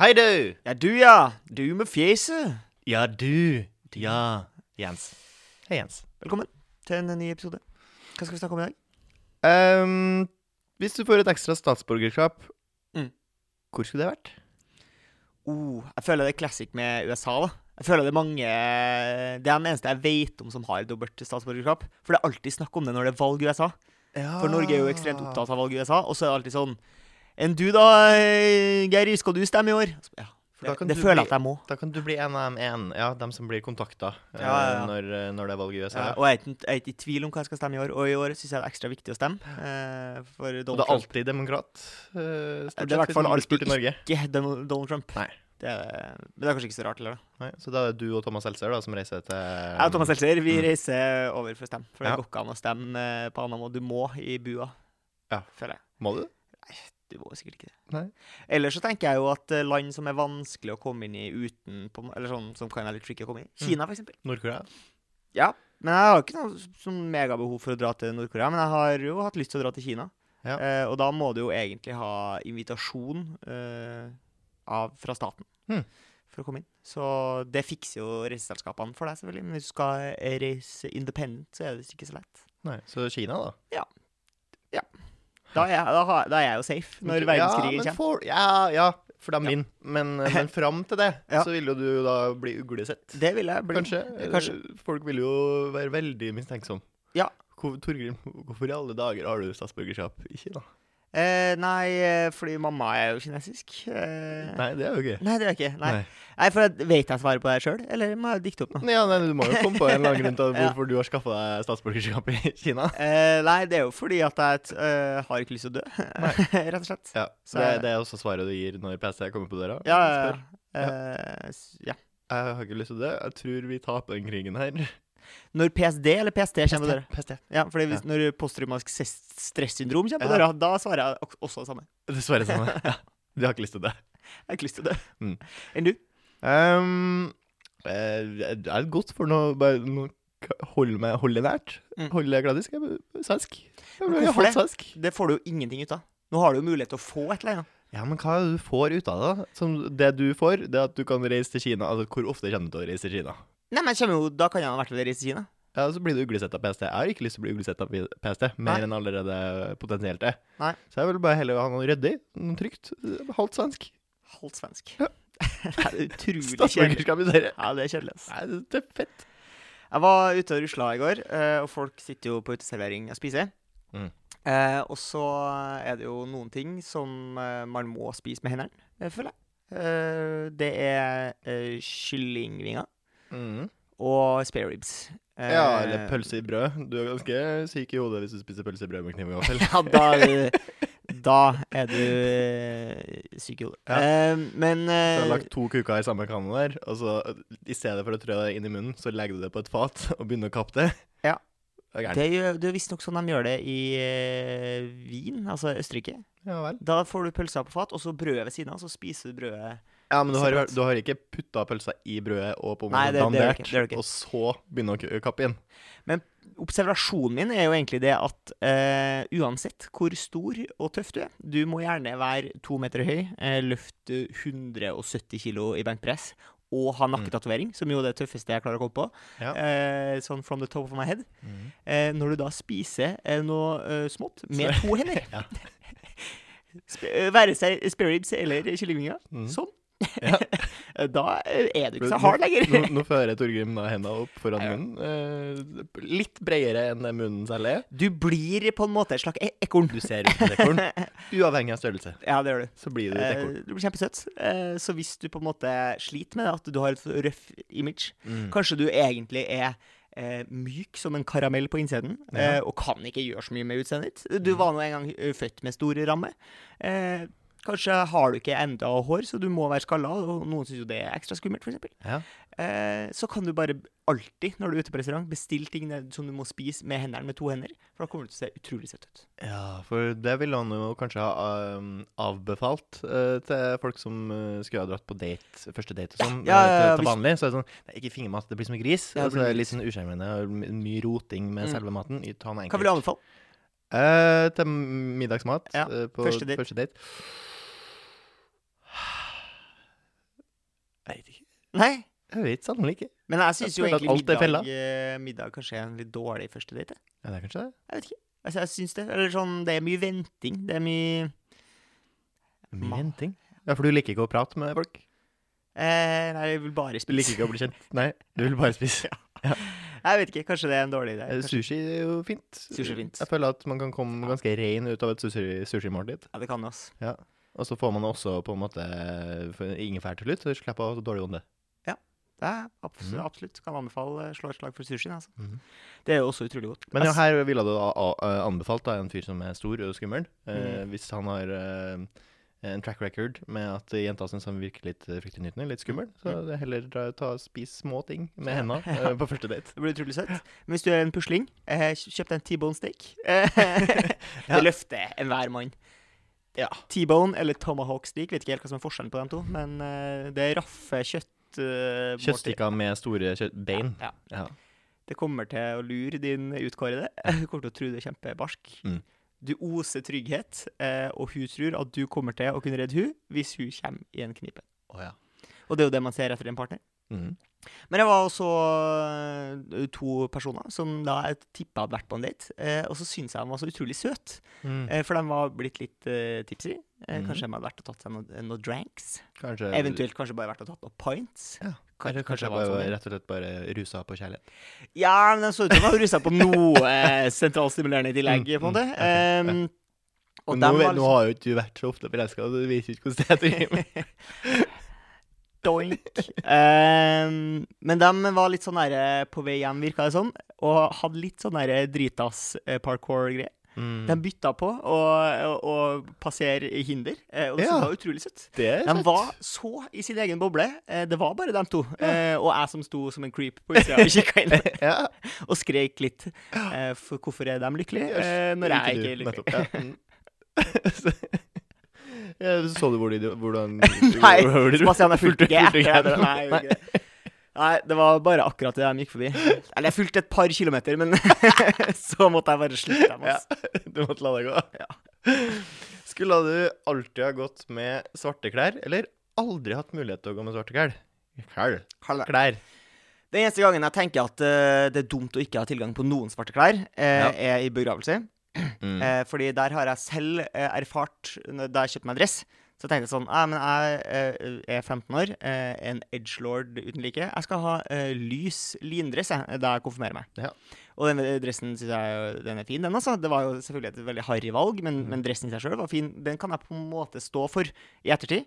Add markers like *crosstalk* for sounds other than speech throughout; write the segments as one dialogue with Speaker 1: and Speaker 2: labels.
Speaker 1: Hei, du!
Speaker 2: Ja, du ja. Du med fjeset.
Speaker 1: Ja, du. Ja, Jens. Hei, Jens.
Speaker 2: Velkommen til en ny episode. Hva skal vi snakke om i dag?
Speaker 1: Ehm, hvis du får et ekstra statsborgerskap,
Speaker 2: Mm.
Speaker 1: hvor skulle det vært?
Speaker 2: Oh, jeg føler det er classic med USA, da. Jeg føler det er mange Det er den eneste jeg vet om som har dobbelt statsborgerskap. For det er alltid snakk om det når det er valg i USA. For Norge er jo ekstremt
Speaker 1: Ah.
Speaker 2: opptatt av valg i USA. Og så er det alltid sånn Enn du da, eh, Geir, skal du stemme i år? Så, Ja,
Speaker 1: For da
Speaker 2: det
Speaker 1: kan
Speaker 2: det
Speaker 1: du
Speaker 2: føler jeg
Speaker 1: bli-
Speaker 2: at jeg må.
Speaker 1: Da kan du bli en av de en- ja, dem som blir kontakta eh,
Speaker 2: Ja, ja, ja.
Speaker 1: Når, eh, når det er valg i USA.
Speaker 2: Ja, og jeg er, ikke, jeg er ikke i tvil om hva jeg skal stemme i år, og i år syns jeg det er ekstra viktig å stemme. eh, for
Speaker 1: Og
Speaker 2: Donald
Speaker 1: det er
Speaker 2: Trump.
Speaker 1: alltid demokrat. eh, stort
Speaker 2: Det er i
Speaker 1: sett,
Speaker 2: hvert
Speaker 1: hvis
Speaker 2: fall
Speaker 1: man blir spurt
Speaker 2: alltid
Speaker 1: i Norge.
Speaker 2: Ikke Don- Donald Trump.
Speaker 1: Nei.
Speaker 2: Det er, men det er kanskje ikke så rart heller, da.
Speaker 1: Nei, så da er det du og Thomas Seltzer da, som reiser til
Speaker 2: Jeg og Thomas Seltzer vi
Speaker 1: Mm.
Speaker 2: reiser over for å stemme. For
Speaker 1: Ja.
Speaker 2: det går ikke an å stemme eh, på annen måte. Du må i bua,
Speaker 1: Ja.
Speaker 2: føler jeg.
Speaker 1: Må du?
Speaker 2: Du må sikkert ikke det.
Speaker 1: Nei.
Speaker 2: Ellers så tenker jeg jo at eh, land som er vanskelig å komme inn i uten på, en- Eller sånn som kan være litt tricky å komme
Speaker 1: Mm.
Speaker 2: inn i. Kina, for eksempel.
Speaker 1: Nord-Korea?
Speaker 2: Men jeg har ikke noe sånn megabehov for å dra til Nord-Korea, men jeg har jo hatt lyst til å dra til Kina.
Speaker 1: Ja.
Speaker 2: Eh, og da må du jo egentlig ha invitasjon eh, av, fra staten
Speaker 1: Hmm.
Speaker 2: for å komme inn. Så det fikser jo reiseselskapene for deg, selvfølgelig. Men hvis du skal eh, reise independent, så er det ikke så lett.
Speaker 1: Nei. Så Kina, da?
Speaker 2: Da er jeg, da har, da er jeg jo safe når
Speaker 1: ja,
Speaker 2: verdenskrigen
Speaker 1: men
Speaker 2: kommer.
Speaker 1: for, ja, ja, for dem
Speaker 2: Ja.
Speaker 1: vinner.
Speaker 2: *laughs*
Speaker 1: Men, eh, men fram til det
Speaker 2: Ja.
Speaker 1: så vil jo du jo da bli uglesett.
Speaker 2: Det vil jeg bli.
Speaker 1: Kanskje.
Speaker 2: Eh, Kanskje.
Speaker 1: Eh, Folk vil jo være veldig mistenksomme.
Speaker 2: Ja.
Speaker 1: Hvor, Torgrim, hvorfor i alle dager har du statsborgerskap i Kina?
Speaker 2: Eh, nei, eh, fordi mamma er jo kinesisk. Eh, nei.
Speaker 1: Nei, det er jo ikke
Speaker 2: det er jeg ikke. Nei. nei, for jeg vet jeg svaret på det sjøl, eller må jeg dikte opp noe?
Speaker 1: Nei, Ja, nei, du må jo komme på en eller annen grunn
Speaker 2: *laughs*
Speaker 1: til
Speaker 2: Ja.
Speaker 1: hvorfor du har skaffa deg statsborgerskap i Kina.
Speaker 2: Eh, nei, det er jo fordi at jeg t- eh, har ikke lyst til å dø, *laughs* rett og slett.
Speaker 1: Ja,
Speaker 2: Så-
Speaker 1: det, det er også svaret du gir når PC kommer på døra.
Speaker 2: Ja,
Speaker 1: Spør.
Speaker 2: ja, eh, s- ja.
Speaker 1: Jeg har ikke lyst til det. Jeg tror vi taper den krigen her.
Speaker 2: Når PSD eller PST kommer på døra.
Speaker 1: PST.
Speaker 2: Ja, fordi hvis, Når posttraumatisk ses- stressyndrom kommer på
Speaker 1: Ja.
Speaker 2: døra, da svarer jeg ok- også det samme.
Speaker 1: Dessverre samme. sånn,
Speaker 2: *laughs*
Speaker 1: Ja. De har ikke lyst til det.
Speaker 2: Jeg har ikke lyst til å dø.
Speaker 1: Mm.
Speaker 2: Enn du?
Speaker 1: Ehm, eh, det er godt for noe bare noe k- Hold meg hold det nært.
Speaker 2: Mm.
Speaker 1: Hold det gladisk. Jeg blir svensk. Jeg
Speaker 2: Men
Speaker 1: blir halvt
Speaker 2: hvorfor det?
Speaker 1: svensk.
Speaker 2: Det får du jo ingenting ut av. Nå har du jo mulighet til å få et eller annet.
Speaker 1: Ja, men hva er det du får ut av det? da? Som det du får, det er at du kan reise til Kina. Altså, hvor ofte kommer du til å reise til Kina?
Speaker 2: Nei, men jeg kommer jo, Da kan jeg i hvert fall reise til Kina.
Speaker 1: Ja, så blir du uglesett av PST. Jeg har ikke lyst til å bli uglesett av PST, mer
Speaker 2: Nei.
Speaker 1: enn allerede potensielt det.
Speaker 2: Nei.
Speaker 1: Så jeg vil bare heller ha noe ryddig, noe trygt. Halvt svensk.
Speaker 2: Halvt svensk. *laughs* Det er utrolig kjedelig.
Speaker 1: Statsborgerskap i Sverige.
Speaker 2: Ja, det er kjedelig. ass.
Speaker 1: Nei, det er fett.
Speaker 2: Jeg var ute og rusla i går, eh, og folk sitter jo på uteservering og spiser.
Speaker 1: Mm.
Speaker 2: Eh, og så er det jo noen ting som eh, man må spise med hendene, eh, føler jeg. Eh, det er eh, kyllingvinger
Speaker 1: Mm.
Speaker 2: og spare ribs. Eh,
Speaker 1: Ja, eller pølse i brød. Du er ganske syk i hodet hvis du spiser pølse i brød med kniv og *laughs* gaffel.
Speaker 2: *laughs* Ja, da er du, da er du eh, syk i hodet.
Speaker 1: Ja.
Speaker 2: Eh, men
Speaker 1: Så
Speaker 2: eh,
Speaker 1: jeg har lagt to kuker i samme kanne der, og så i stedet for å trø det inn i munnen, så legger du det på et fat og begynner å kappe det.
Speaker 2: Ja.
Speaker 1: Det er gærent.
Speaker 2: det er jo- det er jo visstnok sånn de gjør det i eh, Wien, altså Østerrike.
Speaker 1: Ja vel.
Speaker 2: Da får du pølser på fat, og så brødet ved siden av, så spiser du brødet
Speaker 1: Ja, men du har,
Speaker 2: Separat.
Speaker 1: du har ikke putta pølsa i brødet og på en
Speaker 2: Nei,
Speaker 1: måte
Speaker 2: det- det gjør
Speaker 1: dandert,
Speaker 2: du ikke, det gjør du ikke.
Speaker 1: og så begynne å k- kappe inn.
Speaker 2: Observasjonen min er jo egentlig det at eh, uansett hvor stor og tøff du er, du må gjerne være to meter høy, eh, løfte 170 kilo i benkpress og ha nakketatovering, som jo er det tøffeste jeg klarer å komme på.
Speaker 1: Ja.
Speaker 2: Eh, sånn from the top of my head. Eh, når du da spiser eh, noe eh, smått med to hender,
Speaker 1: Ja.
Speaker 2: Sp eh, være seg spare ribs eller kyllingvinger,
Speaker 1: Mm.
Speaker 2: sånn,
Speaker 1: Ja.
Speaker 2: *laughs* da eh, er du ikke
Speaker 1: Nå-
Speaker 2: så hard lenger.
Speaker 1: Nå, nå fører Torgrim da henda opp foran
Speaker 2: Ja.
Speaker 1: munnen. eh, litt bredere enn det munnen selv er.
Speaker 2: Du blir på en måte et slags e- ekorn.
Speaker 1: Du ser ut som et ekorn. *laughs* Uavhengig av størrelse,
Speaker 2: Ja, det gjør du.
Speaker 1: så blir du et
Speaker 2: Eh,
Speaker 1: ekorn.
Speaker 2: Du blir kjempesøt. Eh, Så hvis du på en måte sliter med at du har et røff image,
Speaker 1: Mm.
Speaker 2: kanskje du egentlig er eh, myk som en karamell på innsiden eh, og kan ikke gjøre så mye med utseendet ditt.
Speaker 1: Mm.
Speaker 2: Du var nå en gang eh, født med stor ramme. Eh, Kanskje har du ikke enda hår, så du må være skalla. og Noen syns jo det er ekstra skummelt, f.eks.
Speaker 1: Ja.
Speaker 2: Eh, så kan du bare alltid, når du er ute på restaurant, bestille ting der- som du må spise med hendene med to hender. For da kommer du til å se utrolig søt ut.
Speaker 1: Ja, for det ville han jo kanskje ha um, avbefalt eh, til folk som eh, skulle ha dratt på date, første date og sånn.
Speaker 2: Ja, ja, ja,
Speaker 1: eh, til- til
Speaker 2: hvis-
Speaker 1: vanlig. Så er det sånn Nei, ikke fingermat, det blir som en gris.
Speaker 2: Ja, det
Speaker 1: Og så
Speaker 2: blir
Speaker 1: er det
Speaker 2: gris.
Speaker 1: litt sånn usjarmerende og my- mye roting med
Speaker 2: Mm.
Speaker 1: selve maten. Ta noe
Speaker 2: Hva vil du
Speaker 1: enkelt.
Speaker 2: anbefale?
Speaker 1: Eh, til middagsmat
Speaker 2: Ja,
Speaker 1: eh, på
Speaker 2: første date.
Speaker 1: første date.
Speaker 2: Nei,
Speaker 1: Jeg vet sannelig ikke.
Speaker 2: men jeg syns jo
Speaker 1: føler at
Speaker 2: egentlig
Speaker 1: alt er fella.
Speaker 2: middag, eh, middag kanskje er en litt dårlig første date. jeg.
Speaker 1: Ja, det er kanskje det.
Speaker 2: Jeg vet ikke. Altså, jeg syns det. Eller sånn, det er mye venting. Det er mye
Speaker 1: Mye
Speaker 2: Ma-
Speaker 1: henting. Ja, for du liker ikke å prate med folk?
Speaker 2: eh, Nei, jeg vil bare
Speaker 1: Du liker
Speaker 2: spise.
Speaker 1: ikke å bli
Speaker 2: *laughs*
Speaker 1: kjent? Nei, du vil bare spise.
Speaker 2: Jeg vet ikke, kanskje det er en dårlig idé.
Speaker 1: Eh,
Speaker 2: Kanskje-
Speaker 1: Sushi er jo fint.
Speaker 2: Sushi er fint.
Speaker 1: Jeg føler at man kan komme ganske ren ut av et sushi- sushimåltid.
Speaker 2: Ja, det kan det, altså.
Speaker 1: Og så får man også på en måte for- ingefær til slutt, så slipper jeg å ha så dårlig ånde.
Speaker 2: Det er absolutt,
Speaker 1: Mhm.
Speaker 2: absolutt. Kan anbefale eh, slå et slag for sushien. Altså.
Speaker 1: Mhm.
Speaker 2: Det er jo også utrolig godt.
Speaker 1: Men ja,
Speaker 2: Jeg s-
Speaker 1: her ville du da a- a- anbefalt da, en fyr som er stor og skummel, eh,
Speaker 2: Mm.
Speaker 1: hvis han har eh, en track record med at jenta syns han virker litt eh, fryktelig nytende, litt skummel,
Speaker 2: Mm.
Speaker 1: så det er heller dra- ta og spis små ting med hendene eh, på første
Speaker 2: *laughs*
Speaker 1: date.
Speaker 2: det blir utrolig søtt. Men hvis du er en pusling, eh, kj- kjøp deg en
Speaker 1: *laughs*
Speaker 2: T-bone steak. Eh, *laughs* det løfter enhver mann.
Speaker 1: Ja.
Speaker 2: T-bone eller tomahawk steak, vet ikke helt hva som er forskjellen på de to, men eh, det raffe kjøtt eh, måltid.
Speaker 1: Kjøttstikker med store kjøtt bein.
Speaker 2: Ja.
Speaker 1: Ja.
Speaker 2: Det kommer til å lure din utkårede. Du kommer til å tro du er kjempebarsk.
Speaker 1: Mm.
Speaker 2: Du oser trygghet, eh, og hun tror at du kommer til å kunne redde hun hvis hun kommer i en knipe.
Speaker 1: Å ja.
Speaker 2: Og det er jo det man ser etter en partner.
Speaker 1: Mhm.
Speaker 2: Men jeg var også øh, to personer som da jeg tippa hadde vært på en date. eh, Og så syntes jeg de var så utrolig søte.
Speaker 1: Mm.
Speaker 2: eh, For de var blitt litt uh, tipsy. Eh,
Speaker 1: Mhm.
Speaker 2: Kanskje de hadde vært og tatt seg noen noe dranks.
Speaker 1: Kanskje
Speaker 2: Eventuelt kanskje bare vært og tatt noen pints.
Speaker 1: Ja.
Speaker 2: Kan-
Speaker 1: Eller
Speaker 2: kanskje
Speaker 1: kanskje
Speaker 2: det var
Speaker 1: bare,
Speaker 2: sånn, ja.
Speaker 1: rett og slett bare rusa på kjærlighet.
Speaker 2: Ja, men de så ut som de hadde rusa på noe eh, sentralstimulerende i tillegg,
Speaker 1: Mm,
Speaker 2: på en
Speaker 1: mm,
Speaker 2: måte.
Speaker 1: ok, ja.
Speaker 2: Ehm, og
Speaker 1: Men
Speaker 2: de
Speaker 1: nå,
Speaker 2: var liksom-
Speaker 1: vet- nå har jo ikke du vært så ofte forelska, så du viser ikke hvordan det er. til
Speaker 2: *laughs*
Speaker 1: himmelen.
Speaker 2: Doink. Ehm, men de var litt sånn der, eh, på vei hjem, virka det som, og hadde litt sånn der eh, dritas-parkour-greier. De
Speaker 1: Mm.
Speaker 2: bytta på å, å, å passere hinder, eh, og det
Speaker 1: Ja.
Speaker 2: synes jeg var utrolig søtt.
Speaker 1: Det er
Speaker 2: De
Speaker 1: søtt.
Speaker 2: var så i sin egen boble. eh, Det var bare dem to. eh, Og jeg som sto som en creep på utsida og kikka inn
Speaker 1: *laughs* Ja,
Speaker 2: og skreik litt. eh, For hvorfor er de lykkelige eh, når jeg ikke er lykkelig? Mm.
Speaker 1: *laughs* Ja, så du hvor de,
Speaker 2: *laughs*
Speaker 1: hvordan *laughs*
Speaker 2: Nei,
Speaker 1: hvor de-
Speaker 2: Sebastian, jeg fulgte ikke
Speaker 1: fulgte ikke
Speaker 2: etter.
Speaker 1: etter
Speaker 2: dem. Nei, jeg gjorde ikke det. Nei, det var bare akkurat det de gikk forbi. Eller jeg fulgte et par kilometer, men *laughs* så måtte jeg bare slutte dem.
Speaker 1: Ja,
Speaker 2: ass.
Speaker 1: du måtte la det gå. *laughs* Skulle du alltid ha gått med svarte klær, eller aldri hatt mulighet til å gå med svarte klær? Klær.
Speaker 2: Kalle.
Speaker 1: klær.
Speaker 2: Den eneste gangen jeg tenker at eh, det er dumt å ikke ha tilgang på noen svarte klær, eh,
Speaker 1: Ja.
Speaker 2: er i begravelse.
Speaker 1: Mm.
Speaker 2: Eh, fordi der har jeg selv eh, erfart når- Da jeg kjøpte meg dress, så tenkte jeg sånn Nei, men jeg eh, er 15 år, eh, en edgelord uten like. Jeg skal ha eh, lys lindress jeg, da jeg konfirmerer meg.
Speaker 1: Ja.
Speaker 2: Og den dressen syns jeg jo- den er fin, den, altså. Det var jo selvfølgelig et veldig harry valg, men,
Speaker 1: Mm.
Speaker 2: men dressen i seg sjøl var fin. Den kan jeg på en måte stå for i ettertid.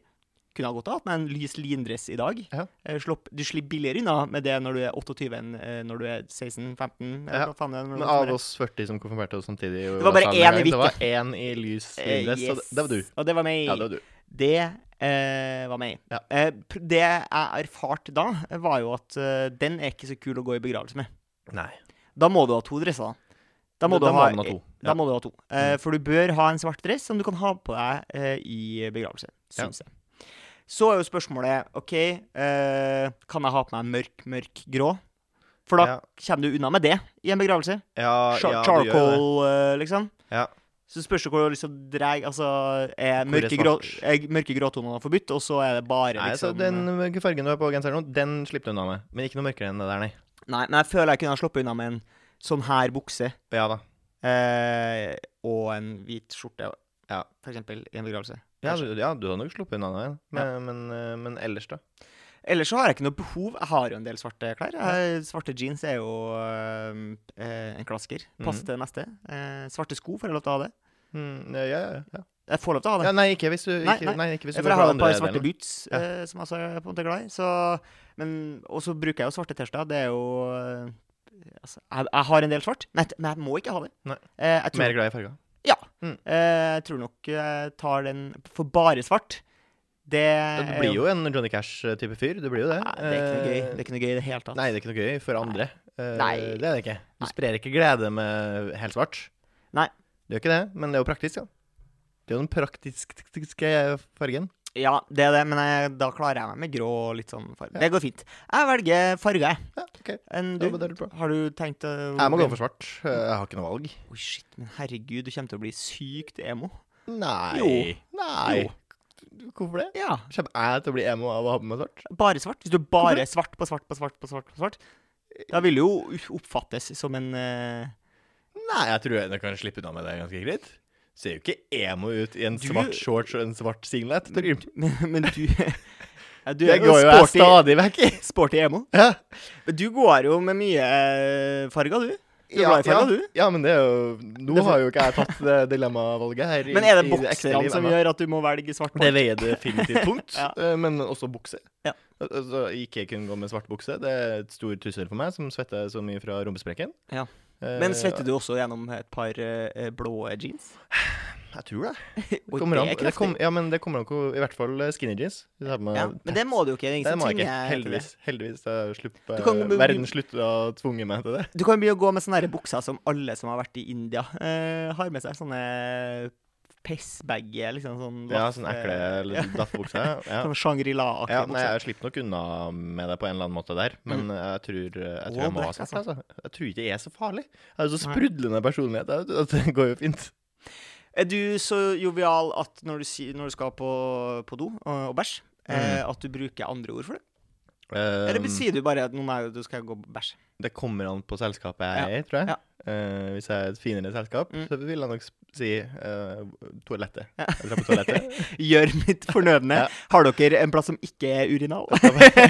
Speaker 2: Kunne ha godt ha hatt meg en lys lindress i dag.
Speaker 1: Ja.
Speaker 2: Eh, slopp, du slipper billigere unna med det når du er 28 enn eh, når du er 16-15.
Speaker 1: Ja.
Speaker 2: Hva faen er det? når du
Speaker 1: Men
Speaker 2: konfirmerer?
Speaker 1: av oss 40 som konfirmerte oss samtidig og
Speaker 2: Det var bare
Speaker 1: sammen
Speaker 2: én i
Speaker 1: med
Speaker 2: hvitt,
Speaker 1: Det var én i lys
Speaker 2: Eh,
Speaker 1: lindress, så
Speaker 2: yes.
Speaker 1: det, det var du.
Speaker 2: Og det var meg.
Speaker 1: Ja, det var du.
Speaker 2: Det eh, var meg.
Speaker 1: Ja.
Speaker 2: Eh, pr- det jeg erfarte da, var jo at eh, den er ikke så kul å gå i begravelse med.
Speaker 1: Nei.
Speaker 2: Da må du ha to dresser. da. Da må,
Speaker 1: Da-
Speaker 2: du,
Speaker 1: da
Speaker 2: ha,
Speaker 1: må man ha to.
Speaker 2: Da
Speaker 1: Ja. Mm.
Speaker 2: må du ha to. Eh, for du bør ha en svart dress som du kan ha på deg eh, i begravelse,
Speaker 1: Ja.
Speaker 2: syns jeg. Så er jo spørsmålet OK, eh, kan jeg ha på meg mørk, mørk grå? For da
Speaker 1: Ja.
Speaker 2: kommer du unna med det i en begravelse.
Speaker 1: Ja,
Speaker 2: Char
Speaker 1: ja, du gjør jo det.
Speaker 2: charcoal, eh, liksom.
Speaker 1: Ja.
Speaker 2: Så spørs det hvor du har lyst til å dra Altså, er
Speaker 1: er
Speaker 2: mørke, grå,
Speaker 1: svart?
Speaker 2: er mørke gråtonene forbudt, og så er det bare
Speaker 1: Nei, så
Speaker 2: liksom
Speaker 1: den mørke fargen du har på genseren nå, den slipper du unna med. Men ikke noe mørkere enn det der, nei.
Speaker 2: Nei, men jeg føler jeg kunne ha sluppet unna med en sånn her bukse
Speaker 1: Ja da.
Speaker 2: eh, og en hvit skjorte,
Speaker 1: Ja.
Speaker 2: for eksempel, i en begravelse.
Speaker 1: Ja,
Speaker 2: Kanskje.
Speaker 1: du, ja, du har nok sluppet unna med den. Men, men, eh, men ellers, da?
Speaker 2: Ellers så har jeg ikke noe behov. Jeg har jo en del svarte klær. Eh, svarte jeans er jo eh, en klassiker. Passer
Speaker 1: Mhm.
Speaker 2: til det meste. Eh, svarte sko får jeg lov til å ha det.
Speaker 1: Mm, ja, ja, ja.
Speaker 2: Jeg får lov til å ha det.
Speaker 1: ja. Nei, ikke hvis du
Speaker 2: Nei,
Speaker 1: ikke,
Speaker 2: nei.
Speaker 1: nei, ikke hvis du
Speaker 2: For
Speaker 1: går for
Speaker 2: jeg har jo et
Speaker 1: andre
Speaker 2: par svarte
Speaker 1: delen.
Speaker 2: boots eh, som jeg også er på en måte glad i. Så, men, og så bruker jeg jo svarte T-skjorter. Det er jo eh, altså, jeg, jeg har en del svart, men jeg, men jeg må ikke ha det.
Speaker 1: Nei.
Speaker 2: Eh, jeg, tror,
Speaker 1: Mer glad i farger.
Speaker 2: ja,
Speaker 1: Mm.
Speaker 2: eh, jeg tror nok jeg tar den For bare svart, det
Speaker 1: Du
Speaker 2: er
Speaker 1: blir jo en Johnny Cash-type fyr. Du blir jo det.
Speaker 2: Eh, Nei, det er ikke noe gøy.
Speaker 1: Eh,
Speaker 2: Det er ikke noe gøy i det hele tatt.
Speaker 1: Nei, det er ikke noe gøy for andre. Eh,
Speaker 2: Nei.
Speaker 1: Det er det ikke. Du
Speaker 2: Nei.
Speaker 1: sprer ikke glede med helt svart.
Speaker 2: Nei.
Speaker 1: Du gjør ikke det, men det er jo praktisk, ja. Det er jo den praktiske fargen.
Speaker 2: Ja, det er det, men jeg, da klarer jeg meg med grå og litt sånn farge. Det går fint. Jeg velger farge, jeg.
Speaker 1: Ja, ok.
Speaker 2: Enn
Speaker 1: Ja,
Speaker 2: du?
Speaker 1: men det er bra.
Speaker 2: Har du tenkt å
Speaker 1: Jeg må gå for svart. Eh, Jeg har ikke noe valg.
Speaker 2: Oi, shit, men herregud, du kommer til å bli sykt emo.
Speaker 1: Nei.
Speaker 2: Jo.
Speaker 1: Nei.
Speaker 2: Jo.
Speaker 1: Hvorfor det?
Speaker 2: Ja.
Speaker 1: Kommer jeg til å bli emo av å ha på meg svart?
Speaker 2: Bare svart. Hvis du bare er svart på svart på svart på svart, på svart da vil det jo oppfattes som en eh, *laughs*
Speaker 1: Nei, jeg tror jeg kan slippe unna med det ganske greit. Ser jo ikke emo ut i en
Speaker 2: Du-
Speaker 1: svart shorts og en svart singlet. Trym.
Speaker 2: Men, men du ja, Du
Speaker 1: Det
Speaker 2: er jo
Speaker 1: går jo jeg
Speaker 2: sporty,
Speaker 1: stadig vekk *laughs* i.
Speaker 2: sporty emo.
Speaker 1: Ja,
Speaker 2: Men du går jo med mye eh, farger, du. Du er
Speaker 1: ja,
Speaker 2: glad i farger, du.
Speaker 1: ja, men det er jo Nå har jo ikke jeg tatt det dilemmavalget *laughs* her. i-
Speaker 2: Men er det
Speaker 1: i ekte
Speaker 2: boksene
Speaker 1: liv
Speaker 2: som
Speaker 1: ennå.
Speaker 2: gjør at du må velge svart?
Speaker 1: liksom Det veier definitivt *laughs* tungt,
Speaker 2: Ja.
Speaker 1: eh, men også bukse.
Speaker 2: Ja.
Speaker 1: Al- Altså, ikke kunne gå med svart bukse. Det er et stor trussel for meg, som svetter så mye fra rumpesprekken.
Speaker 2: Ja.
Speaker 1: Eh,
Speaker 2: Men svetter du også gjennom et par eh, eh, blå jeans?
Speaker 1: Jeg tror det.
Speaker 2: Oi,
Speaker 1: Kommer
Speaker 2: det
Speaker 1: an,
Speaker 2: er
Speaker 1: det
Speaker 2: kraftig.
Speaker 1: kom, ja, men det kommer an på I hvert fall eh, skinny jeans. Hvis jeg har på meg
Speaker 2: ja, men det må du jo ikke. Det er ingen
Speaker 1: Det
Speaker 2: som
Speaker 1: må jeg ikke.
Speaker 2: tvinger deg til det.
Speaker 1: Heldigvis. heldigvis da slipper,
Speaker 2: Du kan-
Speaker 1: verden slutter å ha tvunget meg til det.
Speaker 2: Du kan begynne å gå med sånne her bukser som alle som har vært i India, eh, har med seg. Sånne pessbager, liksom. Sånn
Speaker 1: Ja,
Speaker 2: laff-
Speaker 1: sånn ekle
Speaker 2: Ja.
Speaker 1: eller
Speaker 2: *laughs*
Speaker 1: dattbukse. Ja.
Speaker 2: Sånn Shangri-La-aktige
Speaker 1: Ja, nei,
Speaker 2: bukser.
Speaker 1: jeg slipper nok unna med det på en eller annen måte der, men
Speaker 2: Mm.
Speaker 1: jeg tror jeg, tror
Speaker 2: All
Speaker 1: jeg må ha
Speaker 2: black,
Speaker 1: svart.
Speaker 2: altså.
Speaker 1: Altså. Jeg tror ikke jeg er så farlig. Jeg har jo så
Speaker 2: Nei.
Speaker 1: sprudlende personlighet jeg, vet du, at det går jo fint.
Speaker 2: Er du så jovial at når du, si, når du skal på, på do og, og bæsj, eh, at du bruker andre ord for det? Eller
Speaker 1: Mm. Um,
Speaker 2: sier du bare at nå må jeg- du skal jeg gå og bæsje?
Speaker 1: Det kommer an på selskapet jeg er i, tror jeg.
Speaker 2: Ja.
Speaker 1: Eh, hvis jeg er et finere selskap,
Speaker 2: Mm.
Speaker 1: så vil jeg nok sp- si eh, toalettet. Jeg drar på
Speaker 2: *laughs*
Speaker 1: toalettet.
Speaker 2: *laughs* Gjør mitt fornødne.
Speaker 1: *laughs* Ja.
Speaker 2: Har dere en plass som ikke er
Speaker 1: *laughs*
Speaker 2: urinal?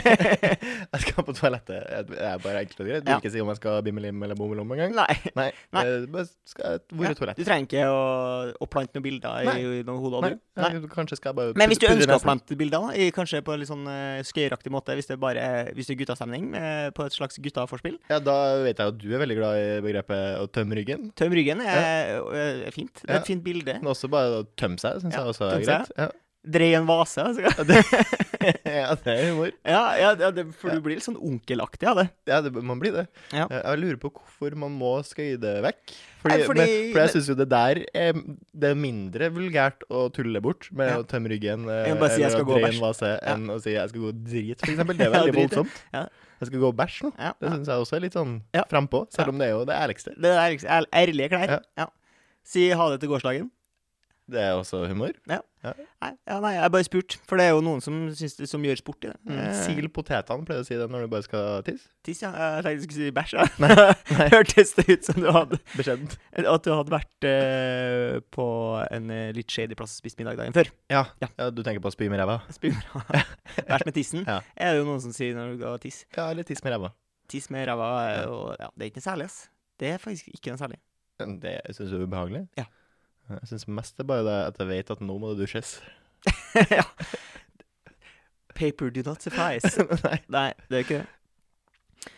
Speaker 1: jeg skal på toalettet. Jeg- Det er bare enkelt og greit. Du
Speaker 2: Ja.
Speaker 1: vil ikke si om jeg skal bimmelim eller bommelom engang.
Speaker 2: Nei.
Speaker 1: Nei.
Speaker 2: Nei.
Speaker 1: eh, bare skal jeg, hvor
Speaker 2: Ja,
Speaker 1: er toalettet?
Speaker 2: Du trenger ikke å, å plante noen bilder
Speaker 1: Nei.
Speaker 2: i, i noen hoder.
Speaker 1: Nei.
Speaker 2: du. Nei.
Speaker 1: jeg- Kanskje skal jeg bare
Speaker 2: Men hvis du
Speaker 1: putte- putte
Speaker 2: ønsker å
Speaker 1: nesen.
Speaker 2: plante bilder, da, i, kanskje på en litt sånn uh, skøyeraktig måte, hvis det, bare, hvis det er guttastemning, eh, på et slags guttaforspill
Speaker 1: Ja, Da vet jeg jo at du er veldig glad i begrepet å tømme ryggen.
Speaker 2: Tøm ryggen er, eh, er fint. Det er
Speaker 1: Ja.
Speaker 2: et fint bilde.
Speaker 1: Men også bare å tømme seg, syns
Speaker 2: Ja,
Speaker 1: jeg også er
Speaker 2: tømme
Speaker 1: greit.
Speaker 2: seg.
Speaker 1: Ja.
Speaker 2: Drei en vase. Altså.
Speaker 1: *laughs*
Speaker 2: *laughs*
Speaker 1: ja, det er humor.
Speaker 2: Ja, ja, ja det, for du blir litt sånn onkelaktig av det.
Speaker 1: Ja, det, man blir det.
Speaker 2: Ja.
Speaker 1: Eh, Jeg lurer på hvorfor man må skøye det vekk. Fordi,
Speaker 2: Nei, fordi-
Speaker 1: men, for jeg syns jo det der er, det er mindre vulgært å tulle bort med
Speaker 2: Ja.
Speaker 1: å tømme ryggen eh,
Speaker 2: Jeg må bare si jeg skal
Speaker 1: eller å
Speaker 2: gå og
Speaker 1: dreie en
Speaker 2: bæsj.
Speaker 1: vase
Speaker 2: Ja.
Speaker 1: enn å si jeg skal gå og drite, for
Speaker 2: *laughs*
Speaker 1: eksempel. Det er
Speaker 2: Ja,
Speaker 1: veldig
Speaker 2: drite.
Speaker 1: voldsomt.
Speaker 2: Ja.
Speaker 1: Jeg skal gå og bæsje nå.
Speaker 2: Ja,
Speaker 1: Det
Speaker 2: ja.
Speaker 1: syns jeg også er litt sånn
Speaker 2: Ja.
Speaker 1: frampå,
Speaker 2: Ja.
Speaker 1: selv om det er jo det ærligste.
Speaker 2: Det er liksom ær- ærlige klær.
Speaker 1: Ja.
Speaker 2: Ja. Si ha det til gårsdagen.
Speaker 1: Det er også humor.
Speaker 2: Nei, ja, nei, jeg bare spurte. For det er jo noen som, syns, som gjør sport i det. Eh,
Speaker 1: Sil potetene, pleier du å si det når du bare skal tisse.
Speaker 2: Tiss, ja. Jeg tenkte du skulle si bæsj. Ja. *laughs* Hørtes det ut som du hadde
Speaker 1: Beskjedent.
Speaker 2: At du hadde vært eh, på en eh, litt shady plass og spist middag dagen før.
Speaker 1: Ja.
Speaker 2: Ja.
Speaker 1: ja, du tenker på å spy med ræva?
Speaker 2: Spyr med ræva. *laughs* Vært med tissen.
Speaker 1: Ja.
Speaker 2: Er det jo noen som sier når du går og tiss.
Speaker 1: Ja, eller tiss med ræva.
Speaker 2: Tiss med ræva er jo ja, Det er ikke noe særlig, ass. Det er faktisk ikke noe særlig.
Speaker 1: Det syns du er ubehagelig?
Speaker 2: Ja.
Speaker 1: Jeg syns mest det er bare det at jeg vet at nå må det dusjes.
Speaker 2: ja. Paper do
Speaker 1: *laughs*
Speaker 2: not suffice.
Speaker 1: Nei.
Speaker 2: Nei, det er ikke det.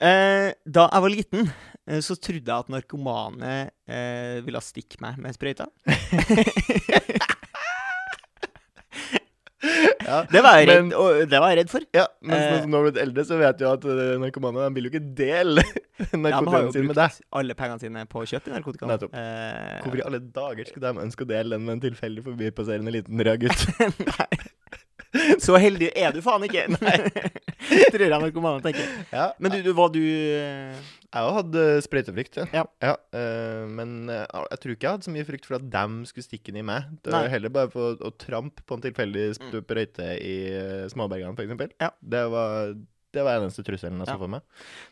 Speaker 2: Eh, da jeg var liten, eh, så trodde jeg at narkomane eh, ville stikke meg med sprøyta.
Speaker 1: Ja.
Speaker 2: Det var jeg redd,
Speaker 1: Men-
Speaker 2: og, det var jeg redd for.
Speaker 1: Ja, men
Speaker 2: Eh.
Speaker 1: sånn som når du er blitt eldre, så vet du at eh, narkomane de vil jo ikke dele *laughs*
Speaker 2: Ja, men har jo
Speaker 1: narkotikaen sin med deg.
Speaker 2: brukt alle pengene sine på å kjøpe narkotika. nå.
Speaker 1: Nettopp.
Speaker 2: Eh, *laughs*
Speaker 1: Hvorfor i alle dager skulle de ønske å dele den med en tilfeldig forbipasserende liten rød gutt?
Speaker 2: *laughs* Så heldig er du faen ikke! Nei. *laughs* Tror jeg narkomane tenker.
Speaker 1: Ja,
Speaker 2: Men du, du var du eh,
Speaker 1: Jeg har jo hatt eh, sprøytefrykt,
Speaker 2: Ja.
Speaker 1: eh, men eh, jeg tror ikke jeg hadde så mye frykt for at dem skulle stikke den i meg. Det
Speaker 2: Nei. Mm.
Speaker 1: var heller bare for å, å trampe på en tilfeldig sprøyte i eh, småbergene, for eksempel.
Speaker 2: Ja.
Speaker 1: Det var det var eneste trusselen jeg så
Speaker 2: Ja.
Speaker 1: for meg.